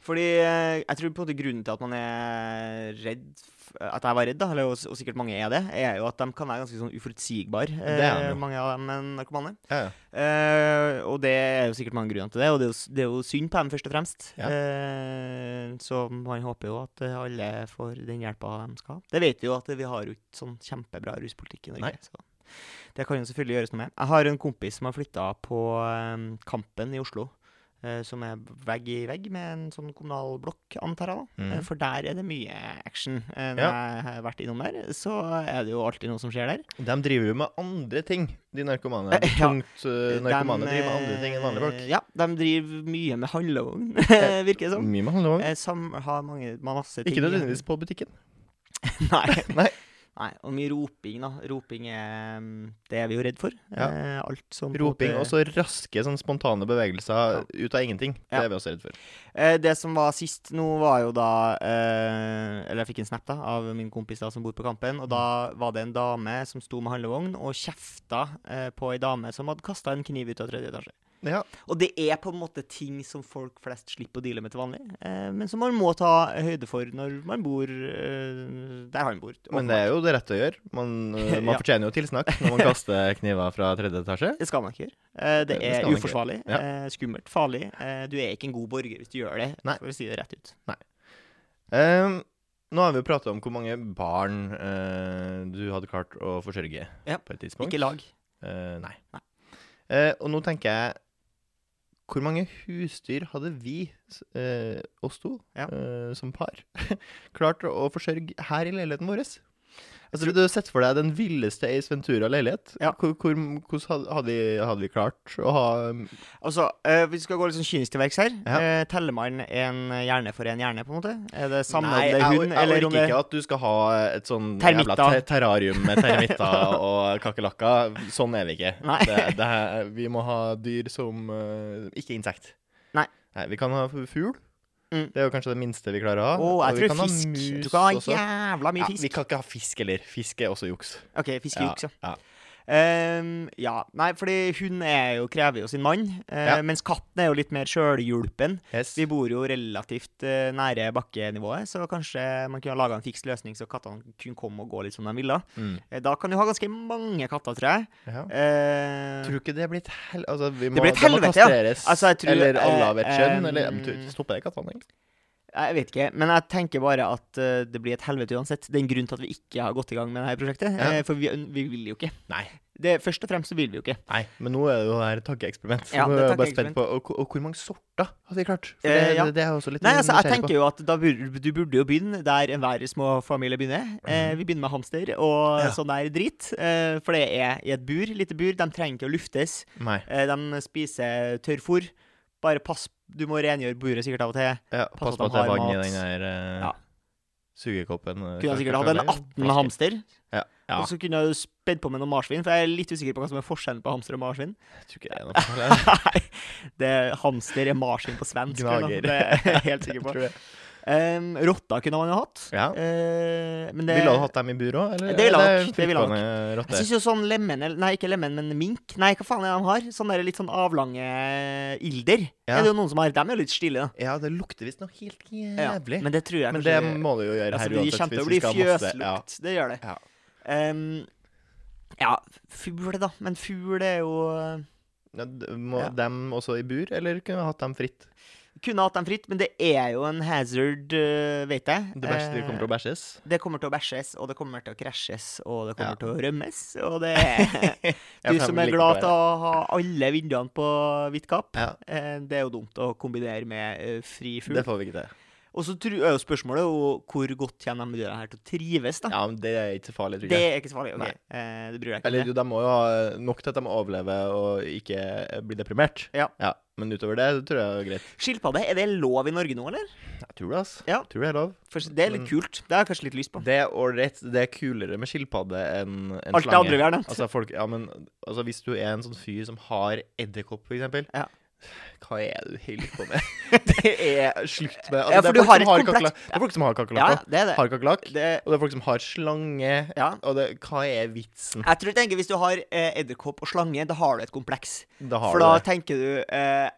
Speaker 2: Fordi eh, jeg tror på en måte grunnen til at man er redd f- At jeg var redd, da, eller, og, s- og sikkert mange er det, er jo at de kan være ganske sånn uforutsigbare,
Speaker 1: Det er
Speaker 2: eh,
Speaker 1: de jo.
Speaker 2: mange av dem eh, narkomane.
Speaker 1: Ja, ja.
Speaker 2: Eh, og det er jo sikkert mange grunner til det, og det er jo, s- det er jo synd på dem, først og fremst.
Speaker 1: Ja.
Speaker 2: Eh, så man håper jo at eh, alle får den hjelpa de skal ha. Det vet vi jo at eh, vi har jo ikke sånn kjempebra ruspolitikk i
Speaker 1: Nei.
Speaker 2: Norge. Så det kan jo selvfølgelig gjøres noe med. Jeg har en kompis som har flytta på eh, Kampen i Oslo. eh, som er vegg i vegg med en sånn kommunal blokk, antar jeg. da.
Speaker 1: Mhm.
Speaker 2: Eh, for der er det mye action. Eh, når jeg har vært innom der, så er det jo alltid noe som skjer der.
Speaker 1: De driver jo med andre ting, de narkomane. De
Speaker 2: Ja.
Speaker 1: tungt eh, narkomane
Speaker 2: Dem,
Speaker 1: driver med andre ting enn vanlige folk.
Speaker 2: eh, Ja, de driver mye med *laughs* handlevogn, virker det som.
Speaker 1: Mye med handlevogn.
Speaker 2: Eh, Som har mange, masse ting
Speaker 1: Ikke nødvendigvis på butikken.
Speaker 2: *laughs* Nei.
Speaker 1: *laughs* Nei.
Speaker 2: Nei, og mye roping, da. Roping er mm, Det er vi jo redd for.
Speaker 1: Ja.
Speaker 2: Eh, alt som på en
Speaker 1: Roping
Speaker 2: måte-
Speaker 1: og så raske sånn spontane bevegelser ut av ingenting. Det
Speaker 2: Ja.
Speaker 1: er vi også redd for.
Speaker 2: Eh, det som var sist nå, var jo da eh, Eller jeg fikk en snap da av min kompis da som bor på Kampen. Og da var det en dame som sto med handlevogn og kjefta eh, på ei dame som hadde kasta en kniv ut av tredje etasje.
Speaker 1: Ja.
Speaker 2: Og det er på en måte ting som folk flest slipper å deale med til vanlig, eh, men som man må ta høyde for når man bor eh, der han bor.
Speaker 1: Men det er jo det rette å gjøre. Man,
Speaker 2: *laughs*
Speaker 1: eh, man
Speaker 2: Ja.
Speaker 1: fortjener jo tilsnakk når
Speaker 2: *laughs*
Speaker 1: man kaster kniver fra tredje etasje.
Speaker 2: Det skal man ikke gjøre. Eh, Det
Speaker 1: Det skal
Speaker 2: er
Speaker 1: man ikke
Speaker 2: uforsvarlig,
Speaker 1: gjøre.
Speaker 2: eh, skummelt, farlig. Eh, Du er ikke en god borger hvis du gjør det,
Speaker 1: Nei.
Speaker 2: for å si det rett ut.
Speaker 1: Ehm, nå har vi jo prata om hvor mange barn eh, du hadde klart å forsørge
Speaker 2: Ja.
Speaker 1: på et tidspunkt.
Speaker 2: Ikke lag.
Speaker 1: Eh, nei.
Speaker 2: Nei.
Speaker 1: Eh, og nå tenker jeg Hvor mange husdyr hadde vi, s- eh, oss to,
Speaker 2: Ja.
Speaker 1: eh, som par, *laughs* klart å forsørge her i leiligheten vår? Altså, du har sett for deg den villeste Ace Ventura-leilighet.
Speaker 2: Ja.
Speaker 1: Hvor, hvor, hvordan hadde- hadde vi, hadde vi klart å ha
Speaker 2: Altså, eh, vi skal gå litt sånn kynisk til verks her.
Speaker 1: Ja.
Speaker 2: Eh, Teller man en hjerne for en hjerne, på en måte? Er det
Speaker 1: Nei,
Speaker 2: samlende
Speaker 1: jeg,
Speaker 2: hund,
Speaker 1: jeg
Speaker 2: eller
Speaker 1: orker
Speaker 2: om det
Speaker 1: ikke at du skal ha et sånn jævla
Speaker 2: Termitter.
Speaker 1: ter terrarium med
Speaker 2: *laughs*
Speaker 1: termitter og kakerlakker. Sånn er vi ikke.
Speaker 2: Nei.
Speaker 1: Det, det er, vi må ha dyr som eh, Ikke insekt.
Speaker 2: Nei.
Speaker 1: Vi kan ha f- fugl.
Speaker 2: Mm.
Speaker 1: Det er jo kanskje det minste vi klarer å ha.
Speaker 2: Å,
Speaker 1: Og
Speaker 2: jeg
Speaker 1: vi
Speaker 2: tror
Speaker 1: kan ha
Speaker 2: fisk.
Speaker 1: mus
Speaker 2: Du kan ha
Speaker 1: også.
Speaker 2: jævla mye
Speaker 1: Ja,
Speaker 2: fisk.
Speaker 1: vi kan ikke ha fisk heller. Fisk er også juks.
Speaker 2: OK, fiskejuks, ja.
Speaker 1: Ja.
Speaker 2: Ehm, ja. Nei, fordi hun er jo, krever jo sin mann, eh,
Speaker 1: Ja.
Speaker 2: mens katten er jo litt mer sjølhjulpen.
Speaker 1: Yes.
Speaker 2: Vi bor jo relativt eh, nære bakkenivået, så kanskje man kunne ha laga en fiks løsning så kattene kunne komme og gå litt som de ville.
Speaker 1: Mm.
Speaker 2: Eh, Da kan du ha ganske mange katter, tror jeg.
Speaker 1: Ja.
Speaker 2: Eh,
Speaker 1: Tror du ikke det blir et hel... Altså, vi må,
Speaker 2: blir et
Speaker 1: de må
Speaker 2: helvete, ja.
Speaker 1: kastreres.
Speaker 2: Altså, jeg tror,
Speaker 1: eller alle av et
Speaker 2: eh,
Speaker 1: kjønn.
Speaker 2: em,
Speaker 1: eller Stopper det kattene, egentlig?
Speaker 2: jeg vet ikke, men jeg tenker bare at eh, det blir et helvete uansett. Det er en grunn til at vi ikke har gått i gang med dette prosjektet,
Speaker 1: Ja.
Speaker 2: eh, for vi, vi vil jo ikke.
Speaker 1: Nei.
Speaker 2: Det, først og fremst så vil vi jo ikke.
Speaker 1: Nei, men nå er det jo her et tankeeksperiment. så
Speaker 2: Ja,
Speaker 1: nå
Speaker 2: det er
Speaker 1: er jeg bare spent
Speaker 2: tankeeksperiment.
Speaker 1: på, og, og hvor mange sorter hadde vi klart? For det,
Speaker 2: Eh, ja.
Speaker 1: det, det er jeg også litt
Speaker 2: Nei, altså, jeg
Speaker 1: nysgjerrig på.
Speaker 2: tenker jo at da burde, du burde jo begynne der enhver små familie begynner. Eh, vi begynner med hamster og
Speaker 1: Mhm. Ja.
Speaker 2: sånn der drit, eh, for det er i et bur, lite bur. De trenger ikke å luftes.
Speaker 1: Nei.
Speaker 2: Eh, de spiser tørrfôr. Bare pass, du må rengjøre buret sikkert av og til.
Speaker 1: Ja,
Speaker 2: Pass
Speaker 1: pass
Speaker 2: at
Speaker 1: på
Speaker 2: de
Speaker 1: at det er vann
Speaker 2: har
Speaker 1: i
Speaker 2: mat.
Speaker 1: den der eh,
Speaker 2: Ja.
Speaker 1: sugekoppen. eh,
Speaker 2: Kunne
Speaker 1: klar-
Speaker 2: sikkert
Speaker 1: klar-
Speaker 2: hatt en
Speaker 1: klar-
Speaker 2: 18 hamster.
Speaker 1: Ja. ja.
Speaker 2: Og så kunne jeg jo spedd på med noen marsvin, for jeg er litt usikker på hva som er forskjellen på hamster
Speaker 1: *laughs*
Speaker 2: og marsvin.
Speaker 1: Jeg tror ikke det er noe
Speaker 2: *laughs*
Speaker 1: forskjell.
Speaker 2: Nei, det er hamster er marsvin på svensk. eller noe.
Speaker 1: Gnager.
Speaker 2: Det er jeg helt sikker
Speaker 1: *laughs* Jeg
Speaker 2: på.
Speaker 1: tror det.
Speaker 2: Um, rotta kunne man jo hatt.
Speaker 1: Ja.
Speaker 2: Eh, men det
Speaker 1: Ville du hatt dem i bur òg, eller? eh,
Speaker 2: Det ville jeg
Speaker 1: er
Speaker 2: nok, det ville jeg nok.
Speaker 1: frittgående
Speaker 2: Jeg
Speaker 1: rotter?
Speaker 2: syns jo sånn lemen, eller- nei, ikke lemen, men mink Nei, hva faen er det de har? Sånne der litt sånn avlange eh, ilder.
Speaker 1: Ja.
Speaker 2: Er det jo noen som har? De er jo litt stille, da.
Speaker 1: Ja, det lukter visst noe helt
Speaker 2: Ja,
Speaker 1: jævlig.
Speaker 2: Men det tror jeg
Speaker 1: Men det
Speaker 2: kanskje-
Speaker 1: må du jo gjøre
Speaker 2: Altså,
Speaker 1: her
Speaker 2: det
Speaker 1: uansett.
Speaker 2: kommer til
Speaker 1: hvis
Speaker 2: å
Speaker 1: vi
Speaker 2: bli
Speaker 1: skal ha masse-
Speaker 2: fjøslukt. Det gjør det.
Speaker 1: Ja.
Speaker 2: Ehm, ja, fugl, da. Men fugl er jo eh,
Speaker 1: Ja. d- Må
Speaker 2: Ja.
Speaker 1: dem også i bur, eller kunne vi hatt dem fritt?
Speaker 2: Kunne hatt dem fritt, men det er jo en hazard, eh, vet jeg.
Speaker 1: Det beste kommer til å bæsjes.
Speaker 2: Det kommer til å bæsjes, og det kommer til å krasjes, og det
Speaker 1: Ja.
Speaker 2: kommer til å rømmes.
Speaker 1: *laughs*
Speaker 2: Og det er
Speaker 1: Ja,
Speaker 2: *laughs* Du
Speaker 1: for
Speaker 2: som
Speaker 1: de
Speaker 2: er
Speaker 1: liker
Speaker 2: glad
Speaker 1: det.
Speaker 2: til å ha alle vinduene på hvitt kapp.
Speaker 1: Ja.
Speaker 2: eh, Det er jo dumt å kombinere med eh, fri fugl.
Speaker 1: Det får vi ikke til.
Speaker 2: Og så tror- er jo spørsmålet jo hvor godt kommer de dyrene her til å trives, da.
Speaker 1: Ja, men Det er ikke så farlig, tror jeg.
Speaker 2: Det er ikke så farlig.
Speaker 1: Nei.
Speaker 2: ok. Eh, Det bryr jeg ikke
Speaker 1: Eller
Speaker 2: om.
Speaker 1: jo, de må jo ha nok til at de overlever og ikke blir deprimert.
Speaker 2: Ja.
Speaker 1: Men utover det tror jeg det er greit.
Speaker 2: det. Skilpadde, er det lov i Norge nå, eller?
Speaker 1: Jeg tror det, altså.
Speaker 2: Ja.
Speaker 1: Tror det er lov.
Speaker 2: For det er litt kult. Det har jeg kanskje litt lyst på.
Speaker 1: Mm. Det er ålreit. Det er kulere med skilpadde enn enn
Speaker 2: Alt det
Speaker 1: slange.
Speaker 2: andre vi har nevnt.
Speaker 1: Altså, folk, ja, men, altså, hvis du er en sånn fyr som har edderkopp, for eksempel
Speaker 2: Ja.
Speaker 1: Hva er det du holder på
Speaker 2: *laughs*
Speaker 1: med? det er slutt med altså,
Speaker 2: Ja, for
Speaker 1: det, er
Speaker 2: du
Speaker 1: folk
Speaker 2: har
Speaker 1: som
Speaker 2: et kompleks-
Speaker 1: kakerlak- det er folk som har
Speaker 2: *laughs* Ja, ja,
Speaker 1: kakerlakker.
Speaker 2: det er det.
Speaker 1: Har kakerlakk.
Speaker 2: det
Speaker 1: Og det er folk som har slange.
Speaker 2: ja.
Speaker 1: Og det, hva er vitsen?
Speaker 2: Jeg tror jeg tenker Hvis du har eh, edderkopp og slange, da har du et kompleks.
Speaker 1: Da har
Speaker 2: For da
Speaker 1: du det.
Speaker 2: tenker du eh,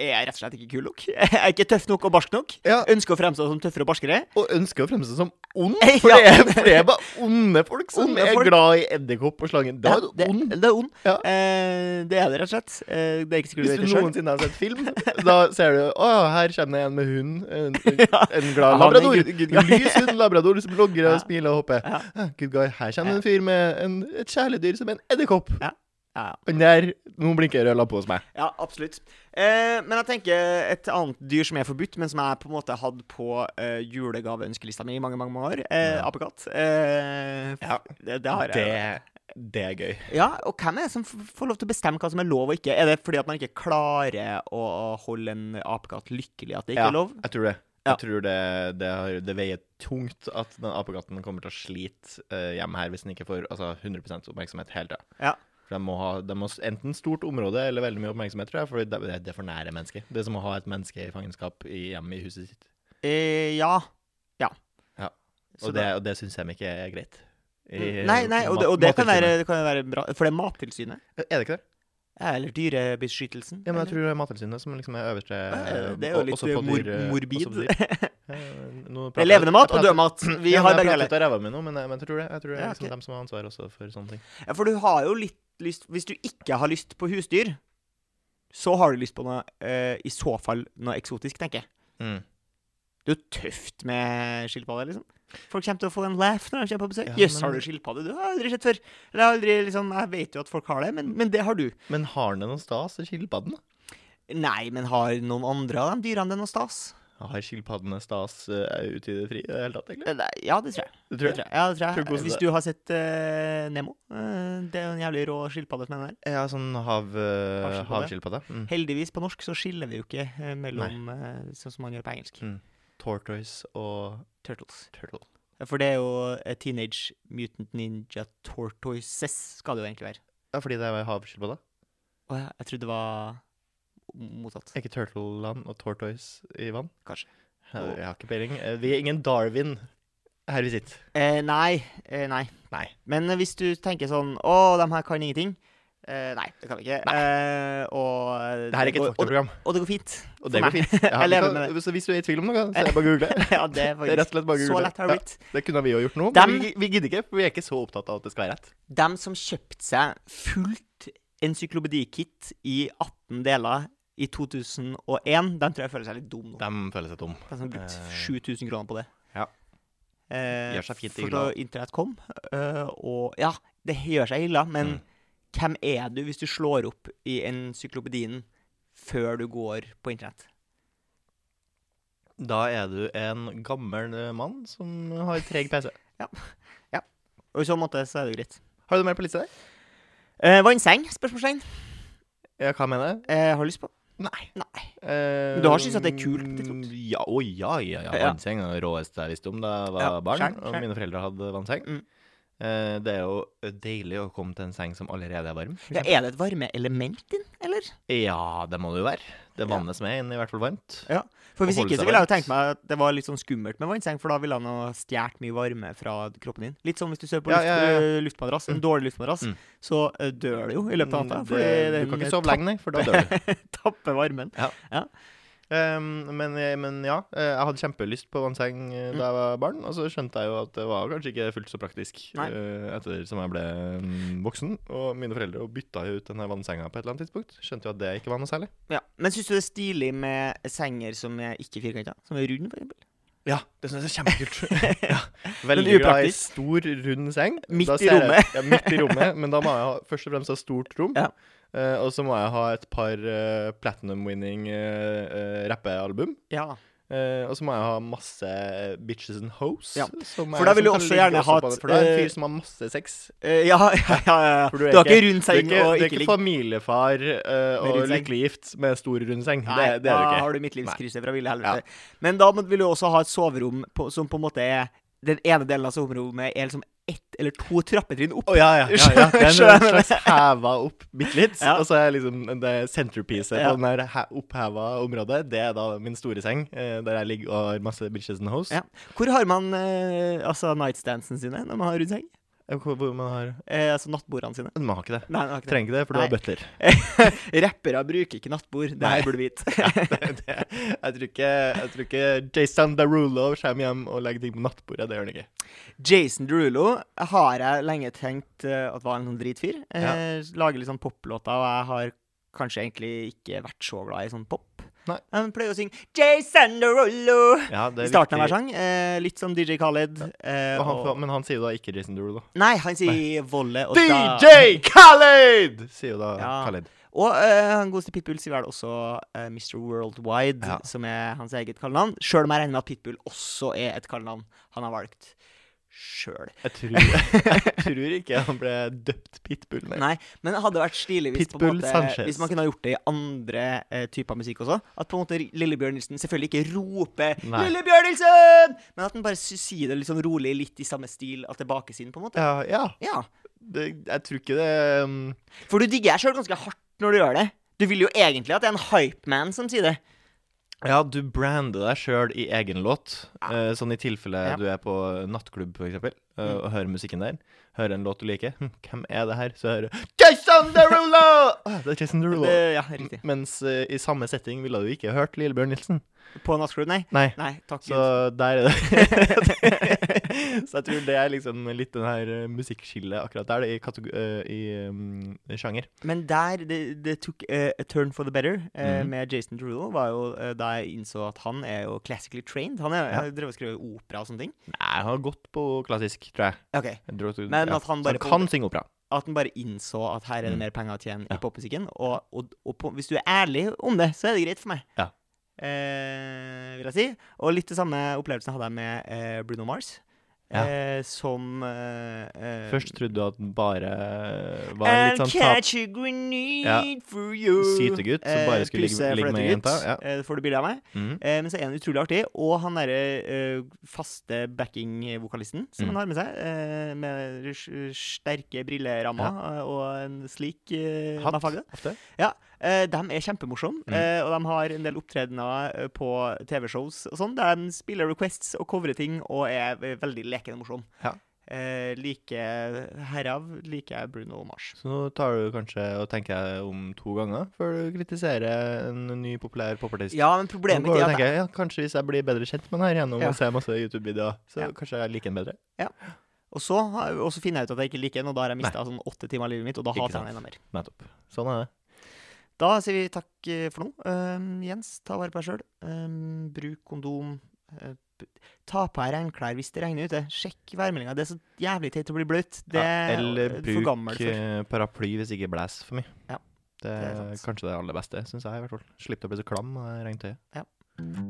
Speaker 2: jeg er jeg rett og slett ikke kul nok. *laughs* Jeg er ikke tøff nok og barsk nok.
Speaker 1: Ja.
Speaker 2: Ønsker å fremstå som tøffere og barskere.
Speaker 1: Og ønsker å fremstå som ond,
Speaker 2: *laughs* Ja.
Speaker 1: for det er, for det er bare onde folk som
Speaker 2: Onde
Speaker 1: er
Speaker 2: folk.
Speaker 1: glad i edderkopp og slangen. Da er
Speaker 2: Ja,
Speaker 1: du ond.
Speaker 2: Det er ond.
Speaker 1: Ja.
Speaker 2: Eh, det er det rett og slett. Eh, det er ikke sikkert
Speaker 1: Hvis
Speaker 2: du vet
Speaker 1: du
Speaker 2: det sjøl.
Speaker 1: noensinne har sett film, da ser du Å, her kommer det en med hund.
Speaker 2: *laughs*
Speaker 1: En, en glad
Speaker 2: Han er
Speaker 1: labrador.
Speaker 2: good- good guy.
Speaker 1: Lys hund labrador som logrer
Speaker 2: Ja.
Speaker 1: og smiler og hopper.
Speaker 2: Ja.
Speaker 1: Ah, Good guy. Her kommer det en fyr med en, et kjæledyr som er en edderkopp.
Speaker 2: Ja. Ja.
Speaker 1: Han der Nå blinker rød lampe hos meg.
Speaker 2: Ja, absolutt. Eh, men jeg tenker et annet dyr som er forbudt, men som jeg på en måte hadde på eh, julegaveønskelista mi i mange mange mange år. Eh,
Speaker 1: Ja.
Speaker 2: Apekatt. Eh,
Speaker 1: Ja.
Speaker 2: det, det har jeg.
Speaker 1: det er gøy.
Speaker 2: Ja, og hvem er det som f- får lov til å bestemme hva som er lov og ikke? Er det fordi at man ikke klarer å holde en apekatt lykkelig at det ikke
Speaker 1: Ja,
Speaker 2: er lov?
Speaker 1: jeg tror det.
Speaker 2: Ja.
Speaker 1: Jeg tror det, det, har, det veier tungt at den apekatten kommer til å slite eh, hjemme her hvis den ikke får altså, 100 oppmerksomhet hele tida.
Speaker 2: Ja.
Speaker 1: For de må, ha, de må s- enten stort område eller veldig mye oppmerksomhet, tror jeg. For det, det er for nære mennesker. Det er som å ha et menneske i fangenskap i hjemmet i huset sitt.
Speaker 2: Eh, ja. Ja.
Speaker 1: Ja.
Speaker 2: Så
Speaker 1: Og det, og det syns de ikke er greit. I, eh,
Speaker 2: Mm, Nei, nei, og det, og det kan, være, det kan være bra, for det er Mattilsynet.
Speaker 1: Mattilsynet. Er det ikke det?
Speaker 2: Ja, Eller Dyrebeskyttelsen.
Speaker 1: Ja, men jeg
Speaker 2: eller?
Speaker 1: tror det er Mattilsynet som liksom er øverste
Speaker 2: Eh, Det
Speaker 1: og-
Speaker 2: er jo litt
Speaker 1: også på
Speaker 2: mor
Speaker 1: dyr, eh, også
Speaker 2: morbid. *laughs*
Speaker 1: på dyr.
Speaker 2: det
Speaker 1: Eh, nå
Speaker 2: er
Speaker 1: prater-
Speaker 2: levende mat og
Speaker 1: jeg prater-
Speaker 2: død mat. Vi
Speaker 1: ja, men
Speaker 2: har
Speaker 1: jeg
Speaker 2: begge
Speaker 1: prater
Speaker 2: deler.
Speaker 1: ut av ræva mi nå, men, jeg- men jeg tror det, jeg tror det er
Speaker 2: Ja,
Speaker 1: liksom
Speaker 2: ok.
Speaker 1: dem som har ansvar også for sånne ting.
Speaker 2: Ja, for du har jo litt lyst Hvis du ikke har lyst på husdyr, så har du lyst på noe eh, I så fall noe eksotisk, tenker jeg. Det er jo tøft med skilpadde, liksom. Folk kommer til å få en laugh når de kommer på besøk.
Speaker 1: Ja,
Speaker 2: Jøss,
Speaker 1: men-
Speaker 2: har du skilpadde? Du har aldri sett før. Eller jeg har aldri liksom Jeg vet jo at folk har det, men, men det har du.
Speaker 1: Men har den noe stas, skilpadden?
Speaker 2: Nei, men har noen andre av de dyrene det noe stas?
Speaker 1: Har skilpaddene stas eh, ute i det frie i det hele tatt, egentlig?
Speaker 2: Eh, nei, Ja, det tror jeg.
Speaker 1: Det
Speaker 2: Det
Speaker 1: tror jeg.
Speaker 2: tror jeg. Ja, det tror
Speaker 1: Tror
Speaker 2: jeg.
Speaker 1: du koser
Speaker 2: Hvis
Speaker 1: deg?
Speaker 2: du har sett eh, Nemo. eh, det er jo en jævlig rå skilpadde som er der.
Speaker 1: Ja, sånn hav, eh,
Speaker 2: Havskilpadde.
Speaker 1: havskilpadde. Mm.
Speaker 2: Heldigvis, på norsk så skiller vi jo ikke eh, mellom eh, sånn som man gjør på engelsk.
Speaker 1: Mm. Tortoise og
Speaker 2: Turtles.
Speaker 1: turtle.
Speaker 2: For det er jo eh, Teenage Mutant Ninja Tortoises, skal det jo egentlig være.
Speaker 1: Ja, fordi det er havskilpadde.
Speaker 2: Å ja, jeg trodde det var motsatt.
Speaker 1: Er ikke turtleland og tortoise i vann?
Speaker 2: Kanskje.
Speaker 1: Jeg, jeg har ikke peiling. Eh, Vi er ingen Darwin her vi sitter.
Speaker 2: Eh, nei. Eh, nei.
Speaker 1: Nei.
Speaker 2: Men eh, hvis du tenker sånn Å, de her kan ingenting. Eh, nei, det kan vi ikke. Eh, og eh,
Speaker 1: Det her er ikke
Speaker 2: går-
Speaker 1: et faktaprogram.
Speaker 2: Og, og det går fint.
Speaker 1: Og det
Speaker 2: for
Speaker 1: går
Speaker 2: meg.
Speaker 1: fint.
Speaker 2: *laughs*
Speaker 1: Ja,
Speaker 2: Jeg
Speaker 1: du
Speaker 2: lever
Speaker 1: kan-
Speaker 2: med
Speaker 1: så hvis du er i tvil om noe, så er det bare å google.
Speaker 2: ja, det *laughs*
Speaker 1: Det er rett
Speaker 2: er
Speaker 1: og
Speaker 2: faktisk
Speaker 1: slett bare å
Speaker 2: så
Speaker 1: google.
Speaker 2: lett har det
Speaker 1: Ja.
Speaker 2: blitt.
Speaker 1: Det kunne vi jo gjort nå,
Speaker 2: Dem-
Speaker 1: men vi, vi gidder ikke. For vi er ikke så opptatt av at det skal være rett.
Speaker 2: Dem som kjøpte seg fullt encyklopedikit i 18 deler i 2001, den tror jeg føler seg litt dum nå.
Speaker 1: De føler seg tom.
Speaker 2: Den som har brukt
Speaker 1: Eh,
Speaker 2: 7000 kroner på det.
Speaker 1: ja.
Speaker 2: Eh,
Speaker 1: Gjør seg fint
Speaker 2: for
Speaker 1: illa.
Speaker 2: da internett kom, eh, og Ja, det gjør seg illa, men
Speaker 1: Mm.
Speaker 2: hvem er du hvis du slår opp i encyklopedien før du går på internett?
Speaker 1: Da er du en gammel eh, mann som har treg PC.
Speaker 2: Og i så måte så er det jo greit.
Speaker 1: Har du noe mer på lista der?
Speaker 2: Eh, vannseng? Spørsmålstegn.
Speaker 1: Ja, hva mener jeg?
Speaker 2: Eh, har du lyst på?
Speaker 1: Nei.
Speaker 2: Nei.
Speaker 1: Eh, mm,
Speaker 2: Du har syntes at det er kult på et tidspunkt?
Speaker 1: Ja, å ja, ja. ja.
Speaker 2: Ja.
Speaker 1: Vannseng er det råeste jeg visste om da jeg var
Speaker 2: Ja,
Speaker 1: barn.
Speaker 2: skjønn,
Speaker 1: Og
Speaker 2: skjønn.
Speaker 1: mine foreldre hadde vannseng.
Speaker 2: Mm.
Speaker 1: Eh, det er jo deilig å komme til en seng som allerede er varm.
Speaker 2: Ja, er det et varmeelement inn, eller?
Speaker 1: Ja, det må det jo være. Det er vannet som er inne, i hvert fall varmt.
Speaker 2: Ja, For hvis
Speaker 1: holde
Speaker 2: ikke,
Speaker 1: seg
Speaker 2: så ville jeg jo
Speaker 1: varmt.
Speaker 2: tenkt meg at det var litt sånn skummelt med vannseng, for da ville han ha stjålet mye varme fra kroppen din. Litt sånn hvis du sover på
Speaker 1: Ja,
Speaker 2: luft,
Speaker 1: ja, ja.
Speaker 2: øh, luftmadrass, en dårlig luftmadrass,
Speaker 1: Mm.
Speaker 2: så øh, dør du jo i løpet av natta.
Speaker 1: Det-
Speaker 2: Fordi
Speaker 1: Du
Speaker 2: den
Speaker 1: kan ikke sove lenge, nei, for da
Speaker 2: *laughs*
Speaker 1: dør du.
Speaker 2: tapp- tapper varmen.
Speaker 1: Ehm, men, men ja, eh, jeg hadde kjempelyst på vannseng eh,
Speaker 2: Mm.
Speaker 1: da jeg var barn, og så skjønte jeg jo at det var kanskje ikke fullt så praktisk
Speaker 2: Nei.
Speaker 1: eh, etter som jeg ble mm, voksen. Og mine foreldre og bytta jo ut denne vannsenga på et eller annet tidspunkt. Skjønte jo at det ikke var noe særlig.
Speaker 2: Ja. Men syns du det er stilig med senger som er ikke firkanta? Som er rund,
Speaker 1: *laughs*
Speaker 2: for eksempel?
Speaker 1: Ja, det syns jeg er *laughs* kjempekult.
Speaker 2: Men
Speaker 1: Veldig glad i
Speaker 2: upraktisk.
Speaker 1: stor, rund seng.
Speaker 2: Midt
Speaker 1: Da
Speaker 2: i
Speaker 1: ser jeg-
Speaker 2: rommet.
Speaker 1: ja, midt i rommet, men da må jeg ha, først og fremst ha stort rom.
Speaker 2: Ja.
Speaker 1: eh, og så må jeg ha et par eh, platinum-winning uh, rappealbum.
Speaker 2: *laughs* Ja.
Speaker 1: Eh, og så må jeg ha masse bitches and hoes.
Speaker 2: Ja.
Speaker 1: som er-
Speaker 2: For
Speaker 1: sånn
Speaker 2: da vil
Speaker 1: som kan
Speaker 2: du også
Speaker 1: ligge
Speaker 2: gjerne ha
Speaker 1: på
Speaker 2: et,
Speaker 1: det, For det er en
Speaker 2: eh,
Speaker 1: fyr som har masse sex.
Speaker 2: Eh, ja, ja, ja, ja.
Speaker 1: For
Speaker 2: Du har ikke
Speaker 1: Du
Speaker 2: rund
Speaker 1: er
Speaker 2: seng
Speaker 1: ikke, du
Speaker 2: og
Speaker 1: er
Speaker 2: ikke
Speaker 1: ikke
Speaker 2: ligg.
Speaker 1: familiefar eh,
Speaker 2: Med
Speaker 1: og
Speaker 2: rund seng.
Speaker 1: lykkelig gift med stor rund seng.
Speaker 2: Nei,
Speaker 1: det, det er
Speaker 2: da
Speaker 1: du ikke.
Speaker 2: har du mitt livs
Speaker 1: Nei.
Speaker 2: krise fra ville helvete. Men da må- vil du også ha et soverom på, som på en måte er Den ene delen av soverommet er liksom ett eller to trappetrinn opp.
Speaker 1: Å ja, ja. ja,
Speaker 2: *laughs*
Speaker 1: ja. Den er
Speaker 2: Skjønner.
Speaker 1: slags heva opp bitte litt.
Speaker 2: Ja.
Speaker 1: Og så er liksom det centerpiece
Speaker 2: Ja.
Speaker 1: på den der he- oppheva området, det er da min store seng, eh, der jeg ligger og har masse bitches and hoes.
Speaker 2: Ja. Hvor har man eh, altså nightstandsene sine når man har rund seng?
Speaker 1: Eh, Hvor, hvor man har
Speaker 2: Eh, altså nattbordene sine?
Speaker 1: Man har ikke det.
Speaker 2: Nei, det har ikke det.
Speaker 1: Trenger ikke det, for du
Speaker 2: Nei.
Speaker 1: har butler.
Speaker 2: *laughs* Rappere bruker ikke nattbord, det
Speaker 1: Nei.
Speaker 2: her burde du vite.
Speaker 1: det, det, jeg, tror ikke, jeg tror ikke Jason Derulo kommer hjem og legger ting på nattbordet. Det gjør han ikke.
Speaker 2: Jason Derulo har jeg lenge tenkt eh, at var en sånn dritfyr. Eh, Lager litt sånn poplåter, og jeg har kanskje egentlig ikke vært så glad i sånn pop.
Speaker 1: Nei.
Speaker 2: Han pleier å synge Jason Derulo
Speaker 1: Ja, det er
Speaker 2: i starten av hver
Speaker 1: viktig.
Speaker 2: sang. Eh, litt som DJ Khaled. Eh,
Speaker 1: Og han,
Speaker 2: og,
Speaker 1: men han sier jo da ikke Jason Derulo.
Speaker 2: nei, han sier volle og da-
Speaker 1: DJ Khaled! Sier jo da
Speaker 2: Ja.
Speaker 1: Khaled.
Speaker 2: Og eh, han godeste Pitbull sier vel også eh, Mr. Worldwide,
Speaker 1: Ja.
Speaker 2: som er hans eget kallenavn. Sjøl om jeg regner med at Pitbull også er et kallenavn han har valgt sjøl.
Speaker 1: Jeg tror, *laughs* jeg tror ikke han ble døpt pitbull. nei.
Speaker 2: Nei, men det hadde vært stilig hvis, på en
Speaker 1: Pitbull
Speaker 2: måte,
Speaker 1: Sanchez.
Speaker 2: hvis man kunne ha gjort det i andre eh, typer musikk også. At på en måte Lillebjørn Nilsen selvfølgelig ikke roper
Speaker 1: Nei.
Speaker 2: 'Lillebjørn Nilsen!', men at den bare sy- sier det litt sånn rolig, litt i samme stil, at det bakes inn, på en måte.
Speaker 1: Ja, ja.
Speaker 2: Ja.
Speaker 1: Det, jeg tror ikke det um,
Speaker 2: For du digger deg sjøl ganske hardt når du gjør det. Du vil jo egentlig at det er en hypeman som sier det.
Speaker 1: Ja, du brander deg sjøl i egen låt. eh, sånn i tilfelle
Speaker 2: Ja.
Speaker 1: du er på nattklubb, f.eks., uh, og hører musikken der. Hører en låt du liker. Hm, hvem er det her? Så hører du Jason Derulo! Ah, det er Jason Derulo.
Speaker 2: det ja, riktig.
Speaker 1: Mens eh, i samme setting ville du ikke hørt Lillebjørn Nilsen.
Speaker 2: På nattklubb, nei.
Speaker 1: Nei.
Speaker 2: Nei, takk
Speaker 1: Så
Speaker 2: Gud.
Speaker 1: der er det *laughs* Så jeg tror det er liksom litt den her eh, musikkskillet akkurat der, det, i, katego- eh, i um, sjanger.
Speaker 2: Men der det, det tok eh, a turn for the better eh,
Speaker 1: Mhm.
Speaker 2: med Jason Derulo, var jo eh, da jeg innså at han er jo classically trained. Han er,
Speaker 1: Ja.
Speaker 2: har drevet og skrevet opera og sånne ting.
Speaker 1: Nei, han har gått på klassisk, tror jeg.
Speaker 2: Ok,
Speaker 1: jeg tror at du,
Speaker 2: Men
Speaker 1: ja.
Speaker 2: at han
Speaker 1: Så
Speaker 2: bare på-
Speaker 1: kan synge opera.
Speaker 2: At han bare innså at her er det
Speaker 1: Mm.
Speaker 2: mer penger å tjene
Speaker 1: Ja.
Speaker 2: i popmusikken. Og, og, og på, hvis du er ærlig om det, så er det greit for meg.
Speaker 1: Ja.
Speaker 2: Eh, vil jeg si. Og litt det samme opplevelsen hadde jeg med eh, Bruno Mars.
Speaker 1: Ja.
Speaker 2: Eh, som eh, eh,
Speaker 1: Først trodde du at den bare var en
Speaker 2: I'll
Speaker 1: litt sånn tap...
Speaker 2: catch a grenade
Speaker 1: Ja,
Speaker 2: for you. Eh,
Speaker 1: sytegutt som bare skulle ligge-
Speaker 2: pusse
Speaker 1: ligge med ei
Speaker 2: fløtegutt,
Speaker 1: jente, ja.
Speaker 2: eh, får du bilde av meg?
Speaker 1: Mhm.
Speaker 2: Eh, men så er han utrolig artig. Og han derre eh, faste backing-vokalisten som
Speaker 1: Mm.
Speaker 2: han har med seg, eh, med s- sterke brillerammer eh, og en slik eh,
Speaker 1: Hatt,
Speaker 2: mafagde.
Speaker 1: ofte.
Speaker 2: Ja, eh, de er kjempemorsomme,
Speaker 1: Mm.
Speaker 2: eh, og de har en del opptredener eh, på TV-shows og sånn, der de spiller requests og covrer ting og er eh, veldig lekende morsomme.
Speaker 1: Ja.
Speaker 2: Eh, liker herav liker jeg Bruno Mars.
Speaker 1: Så nå tar du kanskje og tenker jeg om to ganger før du kritiserer en ny populær popartist.
Speaker 2: Ja, men
Speaker 1: Nå
Speaker 2: problemet
Speaker 1: går
Speaker 2: mitt
Speaker 1: du
Speaker 2: er
Speaker 1: og
Speaker 2: at jeg,
Speaker 1: tenker, ja, kanskje hvis jeg blir bedre kjent med den her gjennom
Speaker 2: Ja.
Speaker 1: å se masse YouTube-videoer, så
Speaker 2: Ja.
Speaker 1: kanskje jeg liker den bedre.
Speaker 2: og, så, har- og så finner jeg ut at jeg ikke liker den, og da har jeg mista sånn åtte timer av livet mitt, og da
Speaker 1: Ikke
Speaker 2: hater jeg
Speaker 1: sant.
Speaker 2: den enda mer.
Speaker 1: Nettopp. Sånn er det.
Speaker 2: Da sier vi takk eh, for nå. Ehm, Jens, ta vare på deg sjøl. bruk kondom. Eh, p- ta på deg regnklær hvis det regner ute. Sjekk værmeldinga. Det er så jævlig teit å bli bløt. Det
Speaker 1: ja,
Speaker 2: er
Speaker 1: eller
Speaker 2: du er for
Speaker 1: bruk
Speaker 2: gammel for.
Speaker 1: eh, paraply hvis ikke blæs for mye.
Speaker 2: Ja,
Speaker 1: Det er
Speaker 2: det er sant.
Speaker 1: kanskje det aller beste, syns jeg. i hvert fall. Slipp å bli så klam av regntøyet.